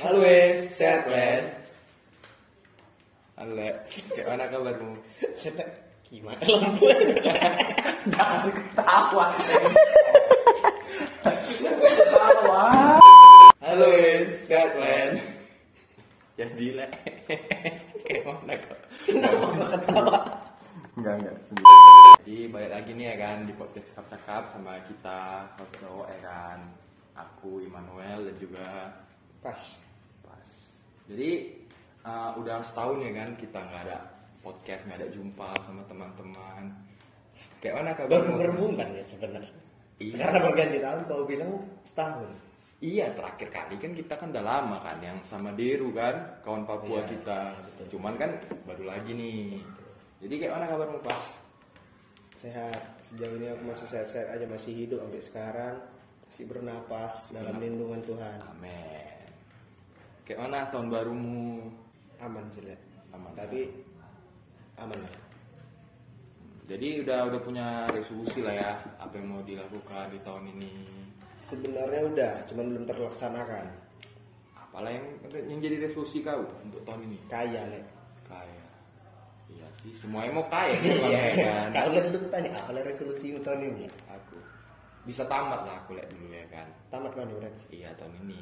Halo wes, sehat Len? Halo, Le. gimana kabarmu? Sehat. Gimana lampu? Jangan ketawa. ketawa. Halo wes, sehat Len? Jadi Le, gimana kok? Ketawa. Enggak, enggak. Jadi balik lagi nih ya kan di podcast Cakap Cakap sama kita host cowok ya kan Aku Immanuel dan juga Pas. Pas Jadi eh, udah setahun ya kan kita nggak ada podcast, nggak ada jumpa sama teman-teman Kayak mana Baru kabarmu? berhubungan ya sebenarnya. Iya. Karena berganti tahun kau bilang setahun. Iya terakhir kali kan kita kan udah lama kan yang sama Deru kan kawan Papua Iya, kita. betul. Cuman kan baru lagi nih. Jadi kayak mana kabarmu pas? Sehat. Sejauh ini aku masih sehat-sehat aja masih hidup sampai sekarang. Masih bernapas dalam Iya. lindungan Tuhan. Amin. Kayak mana tahun barumu? Aman jelek. Aman. Tapi aman lah. Jadi udah udah punya resolusi lah ya apa yang mau dilakukan di tahun ini. Sebenarnya udah, cuman belum terlaksanakan. Apalah yang yang jadi resolusi kau untuk tahun ini? Kaya nih. Kaya. Iya sih, semuanya mau kaya sih Iya, Bang, ya kan. Kalau lihat dulu tanya, apa lah resolusi tahun ini? Aku bisa tamat lah aku lihat dulu ya kan. Tamat mana berarti? Iya tahun ini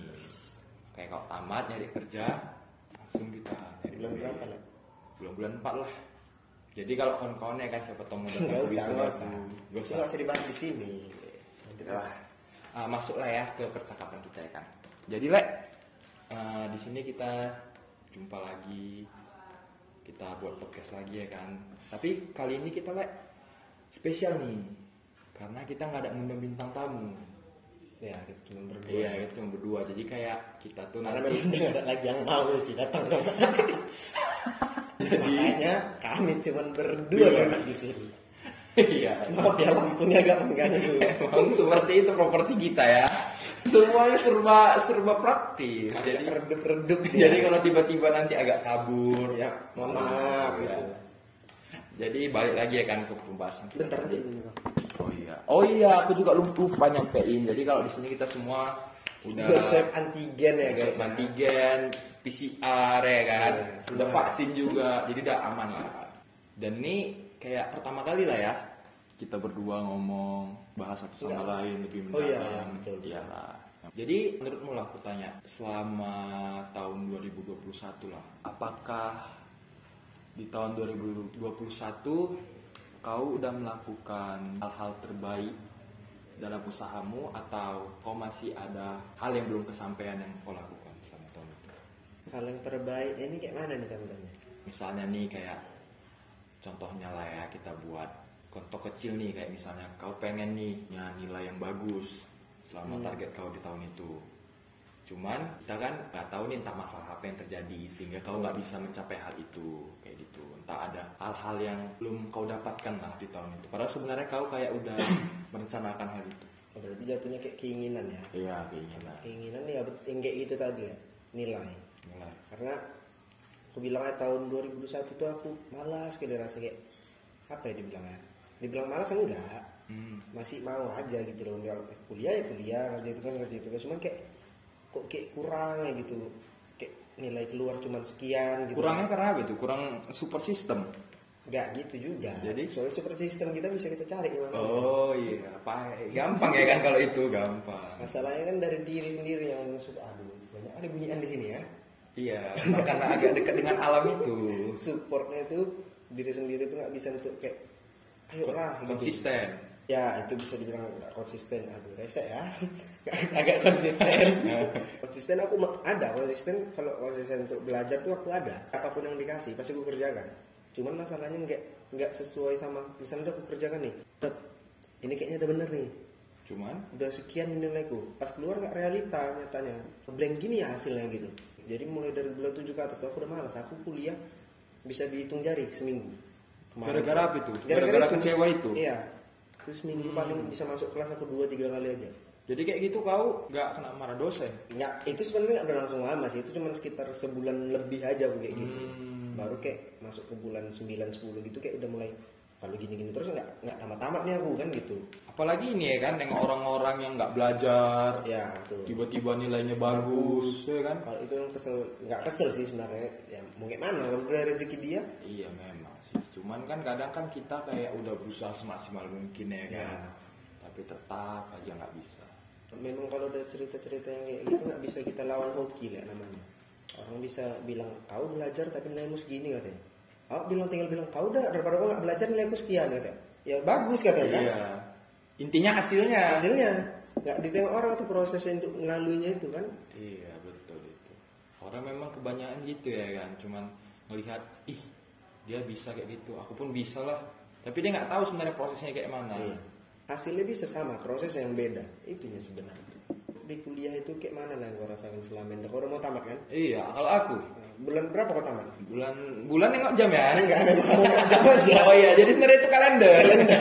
Kayak kalau tamat nyari kerja Langsung kita nyari Bulan duit. berapa lah? Bulan-bulan 4 lah Jadi kalau kawan-kawannya kan siapa tahu mau Enggak usah, bisa enggak langsung. usah. Nggak Itu nggak usah dibahas di sini. Udah lah. Ah, masuklah ya ke percakapan kita ya kan. Jadi lek ah, di sini kita jumpa lagi, kita buat podcast lagi ya kan. Tapi kali ini kita lek spesial nih, karena kita nggak ada ngundang bintang tamu. Ya, kita cuma berdua. Iya, itu cuma berdua. Jadi kayak kita tuh Karena nanti memang nggak ada lagi yang mau sih datang ke Makanya kami cuma berdua duduk di sini. Iya. Maaf ya lampunya agak mengganggu. Emang seperti itu properti kita ya. Semuanya serba serba praktis. Jadi redup-redup ya. jadi kalau tiba-tiba nanti agak kabur, Ya, mohon maaf, Ya. gitu. Jadi balik lagi ya kan ke pembahasan kita. Bentar tadi. dulu. Oh iya. Oh iya, aku juga lupa nyampein. Jadi kalau di sini kita semua udah Udah swab antigen ya guys. swab antigen, PCR ya kan. Iya, udah semua. vaksin juga. Jadi udah aman lah. Dan ini kayak pertama kali lah ya kita berdua ngomong bahas satu sama Iya. lain lebih Oh iya, mendalam. betul. Iyalah. Jadi menurutmu lah aku tanya, selama tahun 2021 lah, apakah di tahun 2021 kau udah melakukan hal-hal terbaik dalam usahamu atau kau masih ada hal yang belum kesampaian yang kau lakukan selama tahun itu? Hal yang terbaik eh, ini kayak mana nih teman-teman? misalnya nih kayak contohnya lah ya kita buat contoh kecil nih kayak misalnya kau pengen nih punya nilai yang bagus selama target kau di tahun itu cuman kita kan nggak tahu nih entah masalah apa yang terjadi sehingga kau nggak bisa mencapai hal itu kayak gitu entah ada hal-hal yang belum kau dapatkan lah di tahun itu padahal sebenarnya kau kayak udah merencanakan hal itu Oh, Berarti jatuhnya kayak keinginan ya. iya keinginan Keinginan ya bet- yang kayak itu tadi ya, nilai. nilai Karena aku bilang aja tahun 2021 tuh aku malas kayak rasa kayak apa ya dibilang ya? Dibilang malas enggak, hmm. masih mau aja gitu loh kalau kuliah ya kuliah ngerjain tugas ngerjain tugas cuman kayak kok kayak kurang ya gitu kayak nilai keluar cuman sekian gitu kurangnya karena apa itu kurang ya? support system nggak gitu juga Jadi? soalnya super system kita bisa kita cari gimana Oh iya, apa gampang ya kan kalau itu gampang. masalahnya kan dari diri sendiri yang suka aduh banyak ada bunyian di sini ya Iya, karena agak dekat dengan alam itu. supportnya itu diri sendiri tuh nggak bisa untuk kayak ayo lah gitu. Konsisten. ya itu bisa dibilang nggak konsisten aduh rese ya agak konsisten konsisten aku ma- ada konsisten kalau konsisten untuk belajar tuh aku ada apapun yang dikasih pasti aku kerjakan cuman masalahnya nggak nggak sesuai sama misalnya udah aku kerjakan nih Tep, ini kayaknya udah bener nih Cuman udah sekian nilaiku pas keluar nggak realita nyatanya blank gini ya hasilnya gitu jadi mulai dari bulan 7 ke atas tuh aku udah malas aku kuliah bisa dihitung jari seminggu Kemarin. Gara-gara apa itu? Gara-gara kecewa itu? Hmm. iya terus minggu paling bisa masuk kelas aku dua tiga kali aja jadi kayak gitu kau nggak kena marah dosen. nggak itu sebenarnya nggak berlangsung lama sih itu cuma sekitar sebulan lebih aja aku kayak gitu Hmm. baru kayak masuk ke bulan 9 10 gitu kayak udah mulai kalau gini-gini terus nggak nggak tamat-tamat nih aku kan gitu Apalagi ini ya kan, yang orang-orang yang nggak belajar, ya betul tiba-tiba nilainya bagus, ya kan? kalau itu yang kesel nggak kesel sih sebenarnya ya mau gimana kalau udah rezeki dia Iya memang sih. Cuman kan kadang kan kita kayak udah berusaha semaksimal mungkin ya kan. Ya. Tapi tetap aja nggak bisa. memang kalau udah cerita-cerita yang kayak gitu nggak bisa kita lawan hoki lah namanya orang bisa bilang kau belajar tapi nilaimu segini katanya kau bilang tinggal bilang kau udah daripada kau nggak belajar nilaiku sekian katanya ya bagus katanya kan Iya. Intinya hasilnya. hasilnya nggak ditengok orang tuh prosesnya untuk melaluinya itu kan Iya betul itu. Orang memang kebanyakan gitu ya kan. Cuman melihat ih dia bisa kayak gitu, aku pun bisa lah. Tapi dia nggak tahu sebenarnya prosesnya kayak mana. Iya. hasilnya bisa sama proses yang beda itunya sebenarnya di kuliah itu kayak mana nah gua rasakan selama ini kau udah mau tamat kan Iya, kalau aku Nah, bulan berapa kau tamat bulan bulan nengok jam ya. enggak memang jangan sih Oh iya, jadi sebenarnya itu kalender. Kalender,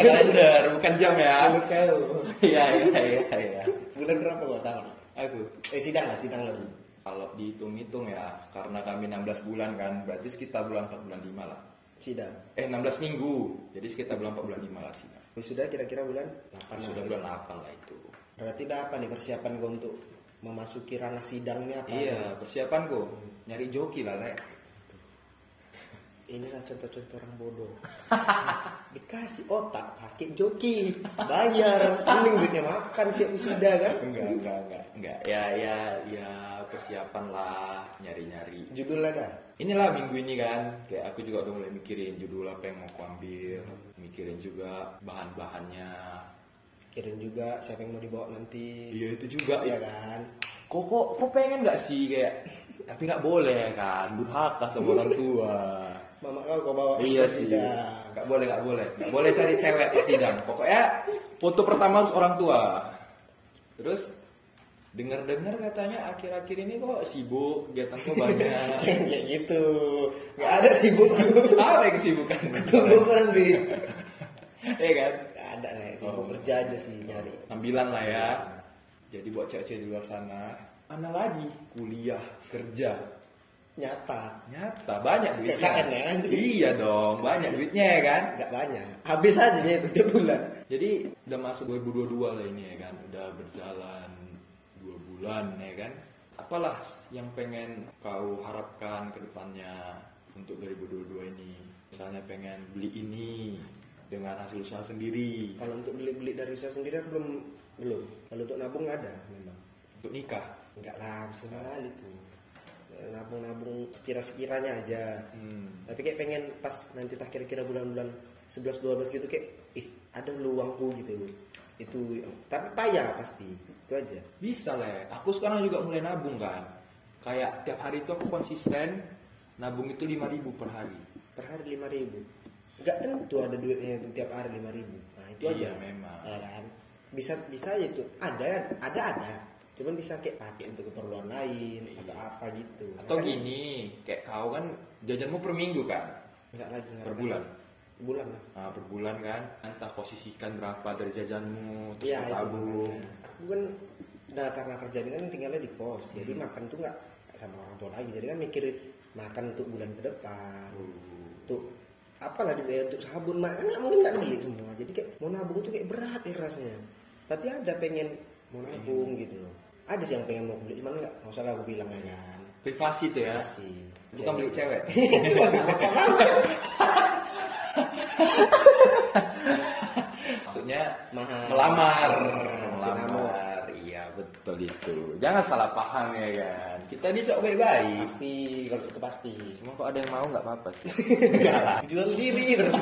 bukan jam ya. kau Iya, iya, iya, iya. bulan berapa kau tamat Aku eh sidang lah sidang lagi Kalau dihitung-hitung ya, karena kami 16 bulan kan, berarti sekitar bulan 4 bulan 5 lah. sidang Eh, 16 minggu. Jadi sekitar bulan 4 bulan 5 lah sih. wisuda Eh, kira-kira bulan 8 Sudah lah. bulan 8 lah itu. berarti udah apa nih persiapan kau untuk memasuki ranah sidangnya apa Iya, persiapanku nyari joki lah, Lek. Inilah contoh-contoh orang bodoh. Dikasih otak pakai joki, bayar, mending duitnya makan siap wisuda kan? Enggak, enggak, enggak. Enggak. Ya, ya, ya persiapan lah nyari-nyari. Judul ada. Inilah minggu ini kan, kayak aku juga udah mulai mikirin judul apa yang mau aku ambil, mikirin juga bahan-bahannya. Kirim juga siapa yang mau dibawa nanti. Iya, itu juga Ya kan? kok kok kok pengen nggak sih kayak tapi nggak boleh kan durhaka sama orang tua Mama kau kau bawa iya ke sih sidang. nggak boleh nggak boleh nggak boleh cari cewek di sidang pokoknya foto pertama harus orang tua terus dengar dengar katanya akhir akhir ini kok sibuk kegiatan kok banyak Jangan kayak gitu. Gak ada sibuk. apa yang kesibukan Tunggu kau nanti. ya kan Gak ada nih, sibuk kerja aja sih nyari. sambilan lah ya jadi buat cewek-cewek di luar sana mana lagi kuliah kerja Nyata. Nyata banyak duitnya. KKN ya? Iya dong, banyak duitnya ya kan. Gak banyak. Habis aja nih itu tiap bulan. Jadi udah masuk 2022 lah ini ya kan, udah berjalan dua bulan ya kan. Apalah yang pengen kau harapkan ke depannya untuk 2022 ini? Misalnya pengen beli ini dengan hasil usaha sendiri Kalau untuk beli-beli dari usaha sendiri aku belum belum. Kalau untuk nabung nggak ada memang. untuk nikah. Enggak lah, bisa kali tuh. Nabung-nabung sekira-sekiranya aja. Hmm. Tapi kayak pengen pas nanti tak kira-kira bulan-bulan 11 12 gitu kayak ih, ada luangku gitu loh. Itu tapi payah pasti. Itu aja. Bisa lah. ya. Aku sekarang juga mulai nabung kan. Kayak tiap hari itu aku konsisten nabung itu 5000 per hari. Per hari 5000. Enggak tentu ada duitnya itu tiap hari 5000. Nah, itu Iya, aja. memang. Ya kan? Bisa bisa aja itu. Ada kan? ada ada. Cuman bisa kayak pakai untuk keperluan lain atau apa gitu. Iya. Atau Makanya- gini, kayak kau kan jajanmu per minggu kan? Enggak lagi enggak Per lagi. bulan. Bulan lah. Nah, per bulan kan, entah kau sisihkan berapa dari jajanmu, terus Iya kau itu tabung. makanya. Aku kan nah karena kerjaan ini kan tinggalnya di kos, jadi Hmm. makan tuh nggak sama orang tua lagi. Jadi kan mikir makan untuk bulan ke depan, Uh, untuk apalah di eh, untuk sabun mak, kan nggak mungkin nggak beli semua. Jadi kayak mau nabung tuh kayak berat ya rasanya. Tapi ada pengen mau nabung Hmm. gitu loh. Ada sih yang pengen mau beli, cuman nggak nggak usah lah aku bilang aja kan. Privasi tuh ya, Masih. bukan beli cewek. Masih apa Maksudnya Mahal. melamar. Melamar, Melamar. Iya, betul itu. Jangan salah paham ya kan. Kita ini sok baik-baik. Pasti kalau itu pasti. Cuma kok ada yang mau nggak apa-apa sih. Enggak lah. Jual diri terus.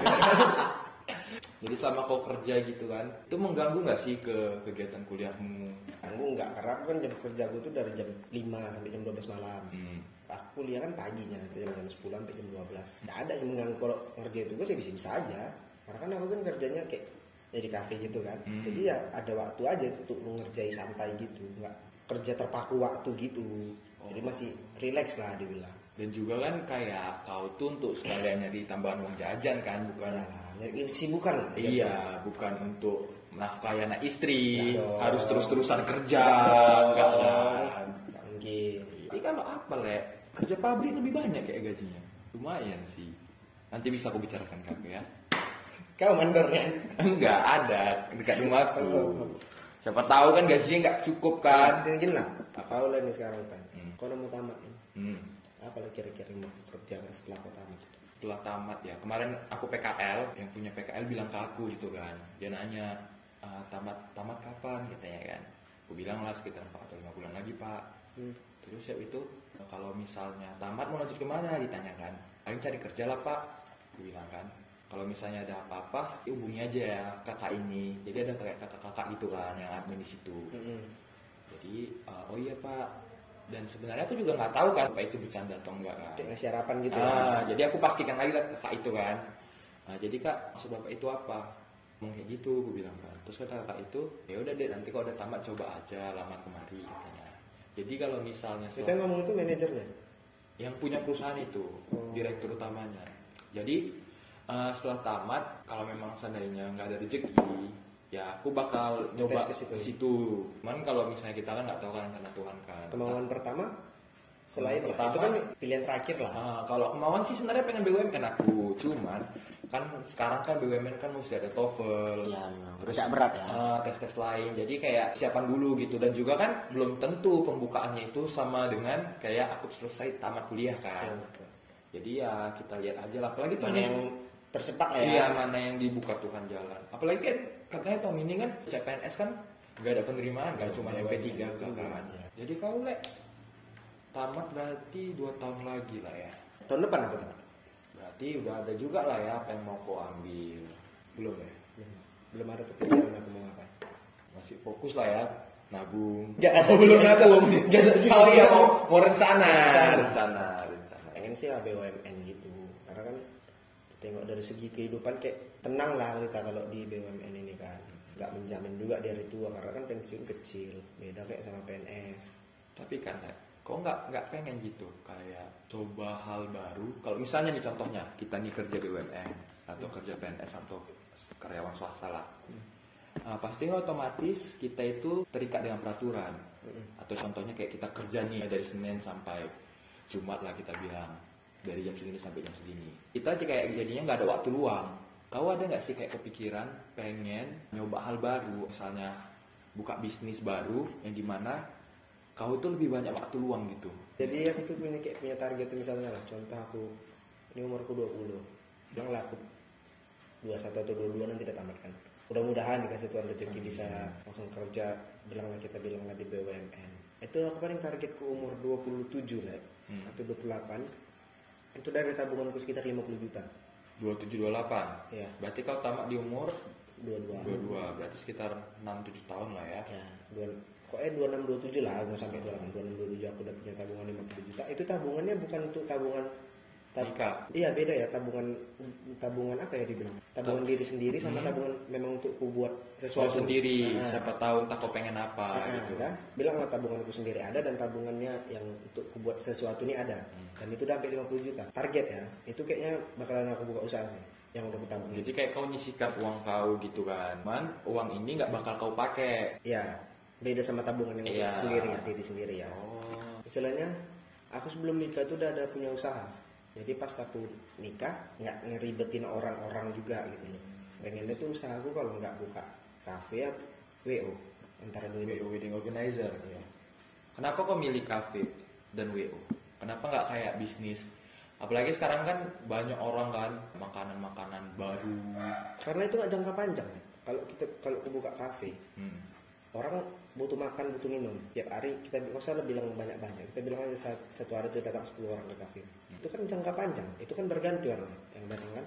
Jadi selama kau kerja gitu kan, itu mengganggu nggak sih ke kegiatan kuliahmu? Aku nggak karena aku kan jam kerja aku tuh dari jam 5 sampai jam 12 malam. Hmm. Aku kuliah kan paginya, dari jam, jam 10 sampai jam 12. Nggak ada sih mengganggu kalau ngerjain tugas ya bisa-bisa aja. Karena kan aku kan kerjanya kayak ya di kafe gitu kan. Hmm. Jadi ya ada waktu aja untuk ngerjai santai gitu. Nggak kerja terpaku waktu gitu. Jadi masih relax lah dibilang. Dan juga kan kayak kau tuh untuk sekalian nyari tambahan uang jajan kan, bukan? Ya lah, nyari kesibukan lah. Iya, bukan untuk menafkahi anak istri, Ya dong. harus terus-terusan kerja, enggak kan? Nggak mungkin. Tapi kalau apa, Lek? Kerja pabrik lebih banyak kayak gajinya. Lumayan sih. Nanti bisa aku bicarakan kakek ya. Kau mandor kan? Enggak ada dekat rumahku. Oh. Siapa tahu kan gajinya nggak cukup kan? Dan gini lah, kau lah nih sekarang kan. Kau nemu tamat nih. Hmm. Apa lah kira-kira mau kerja setelah kau tamat? Setelah tamat ya kemarin aku PKL yang punya PKL bilang ke aku gitu kan. Dia nanya "Ah, tamat tamat kapan katanya kan? Aku bilang lah sekitar 4 atau 5 bulan lagi pak. Hmm. Terus siap itu nah, kalau misalnya tamat mau lanjut kemana ditanyakan. Paling cari kerja lah pak. Aku bilang kan. Kalau misalnya ada apa-apa, ya hubungi aja ya kakak ini. Jadi ada kayak kakak-kakak gitu kan yang admin di situ. Mm-mm. jadi uh, oh iya pak dan sebenarnya aku juga nggak tahu kan apa itu bercanda atau enggak kan Kayak ngasih harapan gitu. Ah, jadi aku pastikan lagi lah ke kak itu kan Ah, jadi kak maksud bapak itu apa ngomong kayak gitu aku bilang kan terus kata kakak itu ya udah deh nanti kalau udah tamat coba aja lamar kemari katanya jadi kalau misalnya Kita yang ngomong itu manajernya. yang punya perusahaan itu Hmm. direktur utamanya jadi eh, setelah tamat kalau memang seandainya nggak ada rezeki ya aku bakal nyoba ke ke situ. situ. cuman kalau misalnya kita kan nggak tahu kan karena Tuhan kan Kemauan pertama selain lah, Pertama- itu kan pilihan terakhir lah. Ah, kalau kemauan sih sebenarnya pengen BUMN aku cuman kan sekarang kan BUMN kan mesti ada TOEFL Iya, memang. Agak berat ya. ah, tes-tes lain jadi kayak siapan dulu gitu dan juga kan belum tentu pembukaannya itu sama dengan kayak aku selesai tamat kuliah kan Iya. jadi ya kita lihat aja lah apalagi tahun Mana yang tercepat lah ya. iya mana yang dibuka Tuhan jalan apalagi kan katanya tahun ini kan CPNS kan nggak ada penerimaan kan cuma Iya, MP3 iya, kan iya. jadi kau lek tamat berarti dua tahun lagi lah ya Tahun depan aku tamat. berarti udah ada juga lah ya apa yang mau kau ambil belum ya Belum, belum ada kepikiran aku mau ngapain. masih fokus lah ya nabung Nggak ada ya, Oh, belum juga. nabung Nggak ada juga. oh iya mau mau rencana Rencana. rencana rencana pengen sih lah BUMN gitu karena kan tengok dari segi kehidupan kayak tenang lah kita kalau di BUMN ini kan nggak menjamin juga dari tua karena kan pensiun kecil beda kayak sama PNS tapi kan Lek, kok nggak nggak pengen gitu kayak coba hal baru kalau misalnya nih contohnya kita nih kerja BUMN atau kerja PNS atau karyawan swasta lah Nah, pastinya otomatis kita itu terikat dengan peraturan atau contohnya kayak kita kerja nih dari Senin sampai Jumat lah kita bilang dari jam segini sampai jam segini kita aja kayak jadinya nggak ada waktu luang kau ada nggak sih kayak kepikiran pengen nyoba hal baru misalnya buka bisnis baru yang dimana kau tuh lebih banyak waktu luang gitu jadi aku tuh punya kayak punya target tuh misalnya lah contoh aku ini umurku 20 bilang lah aku 21 atau 22 nanti udah tamat kan mudah-mudahan dikasih Tuhan rezeki bisa langsung kerja bilang lah kita bilang lah di BUMN itu aku paling targetku umur 27 lah atau 28 itu dari tabunganku sekitar 50 juta 27-28 Iya. berarti kau tamat di umur 22 22 berarti sekitar 6-7 tahun lah ya ya dua Pokoknya 26 27 lah, nggak sampai 26 26 27 aku udah punya tabungan 50 juta. Itu tabungannya bukan untuk tabungan tab- nikah Iya beda ya tabungan tabungan apa ya dibilang tabungan diri sendiri sama tabungan memang untuk ku buat Kau sesuatu Hmm. sendiri Nah, siapa tahu entah kau pengen apa nah, gitu kan? bilang lah tabunganku sendiri ada dan tabungannya yang untuk ku buat sesuatu ini ada Hmm. dan itu udah sampai 50 juta target ya itu kayaknya bakalan aku buka usaha sih yang udah kutabung Jadi kayak kau nyisikan uang kau gitu kan. Cuman uang ini nggak bakal kau pakai. ya beda sama tabungan yang Iya. sendiri ya diri sendiri ya Oh. istilahnya aku sebelum nikah itu udah ada punya usaha jadi pas aku nikah nggak ngeribetin orang-orang juga gitu loh pengennya tuh usahaku kalau nggak buka kafe atau wo antara dua itu WO wedding organizer. Iya. Kenapa kau milih kafe dan WO? Kenapa nggak kayak bisnis? Apalagi sekarang kan banyak orang kan makanan-makanan baru. karena itu nggak jangka panjang kan. kalau kita kalau kita buka kafe Hmm. orang butuh makan butuh minum tiap hari kita nggak usah bilang banyak banyak kita bilang aja sat- satu hari itu datang 10 orang ke kafe itu kan jangka panjang itu kan berganti orang yang datang kan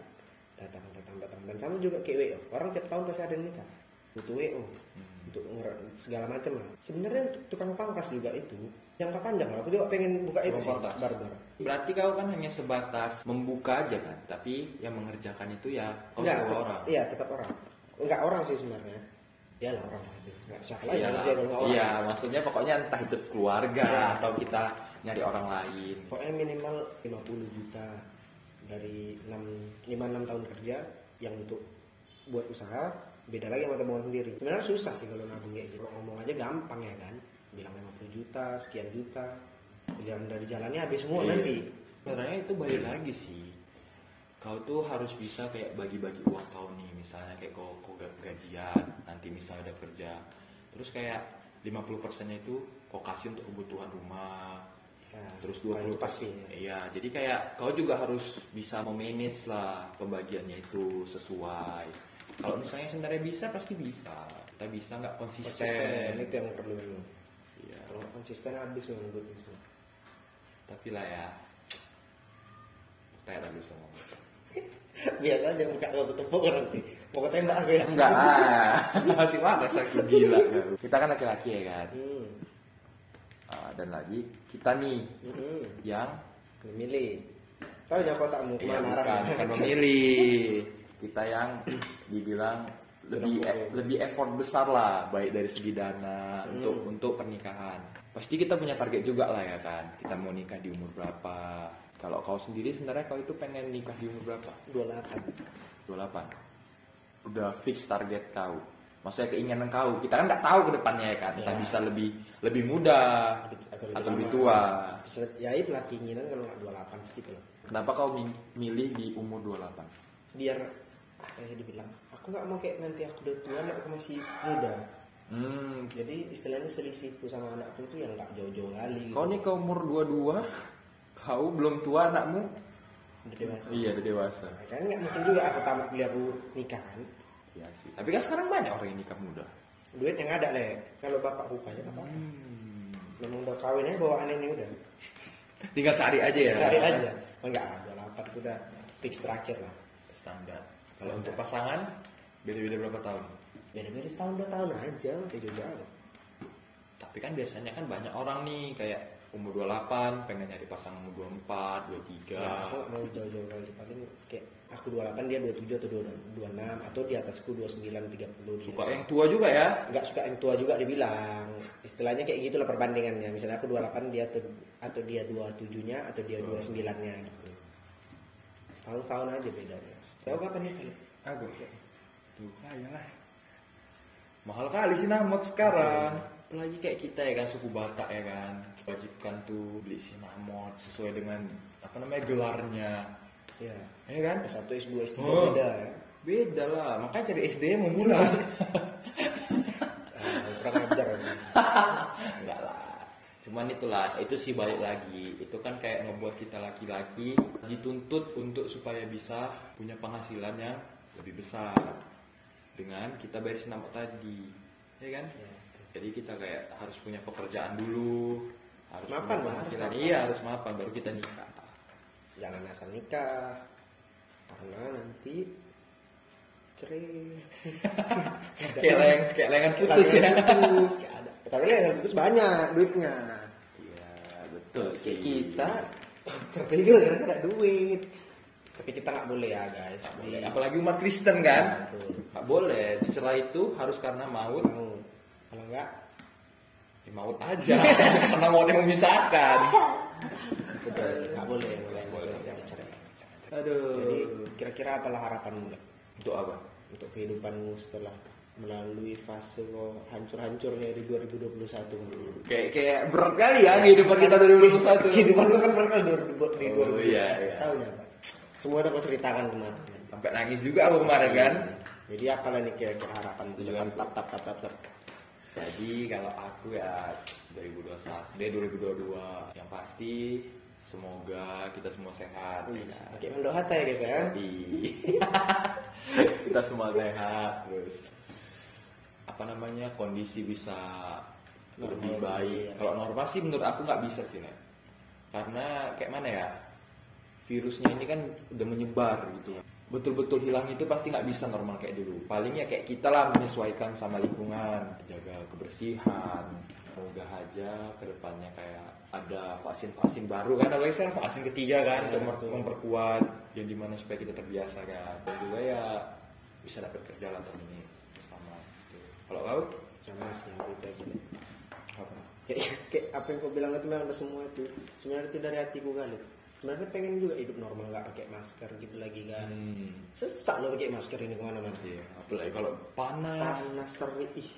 datang datang datang dan sama juga kayak WO orang tiap tahun pasti ada yang nikah butuh WO Hmm. untuk ngurang- segala macam lah sebenarnya tukang pangkas juga itu jangka panjang lah aku juga pengen buka itu sih Tukang pangkas. barbar Berarti kau kan hanya sebatas membuka aja kan, tapi yang mengerjakan itu ya kau Enggak, sewa tetap- orang. iya tetap orang enggak orang sih sebenarnya iyalah orang lah nggak siapa lagi Iya, kerja kalau nggak orang iya, maksudnya pokoknya entah itu keluarga atau kita nyari orang lain. Pokoknya minimal 50 juta dari 6 5 6 tahun kerja yang untuk buat usaha beda lagi sama tabungan sendiri. Sebenarnya susah sih kalau nabung kayak gitu. Kalau ngomong aja gampang ya kan. Bilang 50 juta, sekian juta. Giliran dari jalannya habis semua Iya. nanti. Sebenarnya itu balik lagi sih. kau tuh harus bisa kayak bagi-bagi uang kau nih misalnya kayak kau, kau ga- gajian nanti misalnya udah kerja terus kayak 50 persennya itu kau kasih untuk kebutuhan rumah Ya, terus 20 kalau itu pasti iya jadi kayak kau juga harus bisa memanage lah pembagiannya itu sesuai kalau misalnya sebenarnya bisa pasti bisa kita bisa nggak konsisten konsisten itu yang perlu memang Iya. kalau nggak konsisten habis memang buat itu tapi lah ya kayak lagu sama biasa aja muka lo ketepuk orang nih mau ketembak aku ya enggak lah masih panas aku gila kau. kita kan laki-laki ya kan hmm. Ah, dan lagi kita nih hmm. yang memilih tahu ya kotakmu ya, kemana bukan, arahnya bukan memilih kita yang dibilang lebih e-, Kenapa? lebih effort besar lah baik dari segi dana Hmm. untuk untuk pernikahan pasti kita punya target juga lah ya kan kita mau nikah di umur berapa kalau kau sendiri sebenarnya kau itu pengen nikah di umur berapa dua delapan 28 udah fix target kau maksudnya keinginan kau kita kan nggak tahu ke depannya ya kan kita Ya. bisa lebih lebih muda atau atau lama. lebih tua Bisa- ya itulah keinginan kalau nggak dua delapan segitu loh kenapa kau mi- milih di umur 28 biar apa ya dibilang aku nggak mau kayak nanti aku udah tua anak aku masih muda hmm jadi istilahnya selisihku sama anakku itu yang nggak jauh-jauh gitu. kali kau nih kau umur 22 kau belum tua anakmu udah dewasa iya udah dewasa Nah, kan nggak mungkin juga aku tamat kuliah aku nikah kan iya sih tapi kan sekarang banyak orang yang nikah muda duit yang ada le kalau bapak bukanya apa hmm. memang udah kawin aja bawa aneh ini udah tinggal cari aja ya cari aja Oh, enggak lah dua delapan itu udah fix terakhir lah standar kalau untuk pasangan beda-beda berapa tahun beda-beda setahun dua tahun aja udah jauh-jauh Tapi kan biasanya kan banyak orang nih kayak umur 28 pengen nyari pasangan umur 24, Ya, aku 23. nggak mau jauh-jauh kali paling kayak aku 28 dia 27 atau 26 atau di atasku 29 30 Suka dia. yang tua juga ya. gitu. nggak suka yang tua juga dibilang istilahnya kayak gitulah perbandingannya misalnya aku 28 dia tuh atau dia 27 nya atau Hmm. dia 29 nya gitu setahun tahun aja bedanya tahu kapan ya, nih kali Aku tuh lah. Mahal kali sih namot sekarang. Apalagi kayak kita ya kan suku Batak ya kan. Wajibkan tuh beli sinamot sesuai dengan apa namanya gelarnya. ya Ya kan? S1 S2 S3 Oh. beda ya Beda lah, makanya cari SD mau bulan. Ah, kurang ajar ya. Enggak lah. Cuman itulah, itu sih balik lagi. Itu kan kayak ngebuat kita laki-laki dituntut untuk supaya bisa punya penghasilan yang lebih besar. Dengan kita bayar sinamot tadi. Ya kan? Ya. Jadi kita kayak harus punya pekerjaan dulu. Harus Mapan punya lah, harus penghasilan. mapan. Iya, harus mapan. Baru kita nikah. jangan asal nikah karena nanti cerai Kayak layang, kayak layangan putus Tapi ya. putus gak ada tapi yang putus banyak duitnya Iya, betul sih. Kayak kita cerai gara-gara nggak ada duit tapi kita nggak boleh ya guys Boleh. Apalagi umat Kristen kan? Betul. Nggak boleh. Dicelah itu harus karena maut mau kalau nggak Ya, maut aja karena mautnya memisahkan nggak boleh Nggak boleh. Jangan cerai. aduh jadi kira-kira apalah harapanmu Le? untuk apa untuk kehidupanmu setelah melalui fase lo hancur-hancurnya di 2021 menurut kayak kayak berat kali ya kehidupan kita dari 2021 Kehidupan lu kan pernah di di Oh, 2021 iya, iya. tahunnya Pak. Semua udah kau ceritakan kemarin. sampai nangis juga aku kemarin kan Jadi apalah nih kira-kira harapan Itu juga. tap tap tap tap tap. jadi kalau aku ya 2021 dari 2022 yang pasti semoga kita semua sehat ya kan? Oke, mendok hata ya guys ya. Tapi kita semua sehat terus apa namanya kondisi bisa lebih Normal, baik. iya. Kalau normal sih menurut aku nggak bisa sih Nek. Karena kayak mana ya virusnya ini kan udah menyebar gitu. Betul-betul hilang itu pasti nggak bisa normal kayak dulu. Palingnya kayak kita lah menyesuaikan sama lingkungan, jaga kebersihan. Semoga aja kedepannya kayak ada vaksin-vaksin baru kan, apalagi sekarang vaksin ketiga kan, Iya, untuk betul. mem- memperkuat yang dimana supaya kita terbiasa kan. Dan juga ya bisa dapat kerja lah tahun ini bersama. gitu. Kalau kau, Sama sih aku itu aja. deh. apa? Kayak, kayak apa yang kau bilang itu memang ada semua itu. Sebenarnya itu dari hatiku kali. Sebenarnya pengen juga hidup normal nggak pakai masker gitu lagi kan. Hmm, Sesak lo pakai masker ini kemana-mana. iya. Apalagi kalau panas, panas terik ih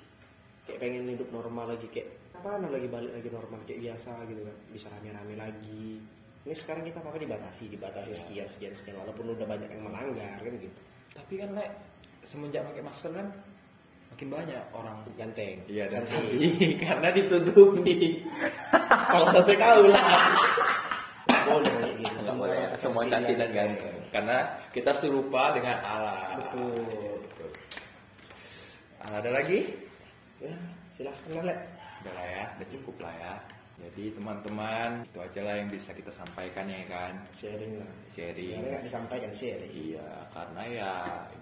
kayak pengen hidup normal lagi kayak apa lagi balik lagi normal kayak biasa gitu kan bisa rame-rame lagi ini sekarang kita apa dibatasi Iya. dibatasi sekian sekian sekian walaupun udah banyak yang melanggar kan gitu Tapi kan Lek, semenjak pakai masker kan makin banyak orang ganteng Iya dan Cantik. cantik karena ditutupi. salah satu kau lah boleh kayak gitu Nggak Semua boleh, orang semua cantik dan ganteng. Karena kita serupa dengan Allah. betul Gitu. Ada lagi? ya silahkan lah Lek. Udah lah ya, udah cukup lah ya. Jadi teman-teman, itu aja lah yang bisa kita sampaikan ya kan. sharing lah Sharing. Sebenarnya nggak disampaikan sharing Iya, karena ya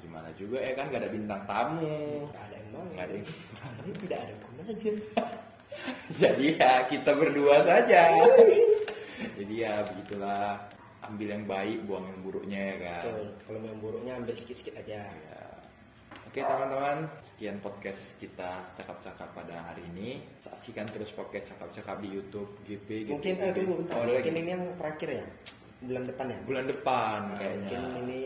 gimana juga ya kan gak ada bintang tamu. nggak ada yang mau Nggak ada yang- Iya. ini tidak ada gunanya Jadi ya kita berdua saja. Jadi ya begitulah, ambil yang baik, buang yang buruknya ya kan. betul kalau yang buruknya ambil sedikit sedikit aja Ya. Oke teman-teman, sekian podcast kita cakap-cakap pada hari ini. Saksikan terus podcast cakap-cakap di YouTube GP. gitu. mungkin eh tunggu bentar Oh, ada mungkin lagi. ini yang terakhir ya bulan depan ya bulan depan Nah, kayaknya. mungkin ini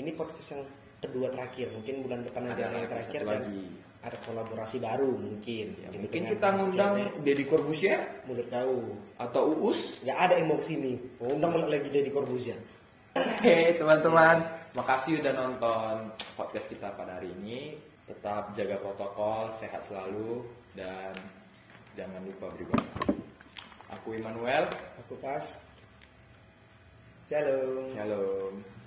ini podcast yang kedua terakhir mungkin bulan depan Ada ada yang lagi, terakhir satu dan lagi. ada kolaborasi baru mungkin Ya, Gitu, mungkin dengan kita Mas ngundang Cewek, Deddy Corbusier mulut kau atau Uus. nggak ada yang mau kesini Mau undang malah lagi dari Corbuzier Oke teman-teman, makasih udah nonton podcast kita pada hari ini. Tetap jaga protokol, sehat selalu dan jangan lupa berubah. Aku Immanuel, aku pas shalom shalom.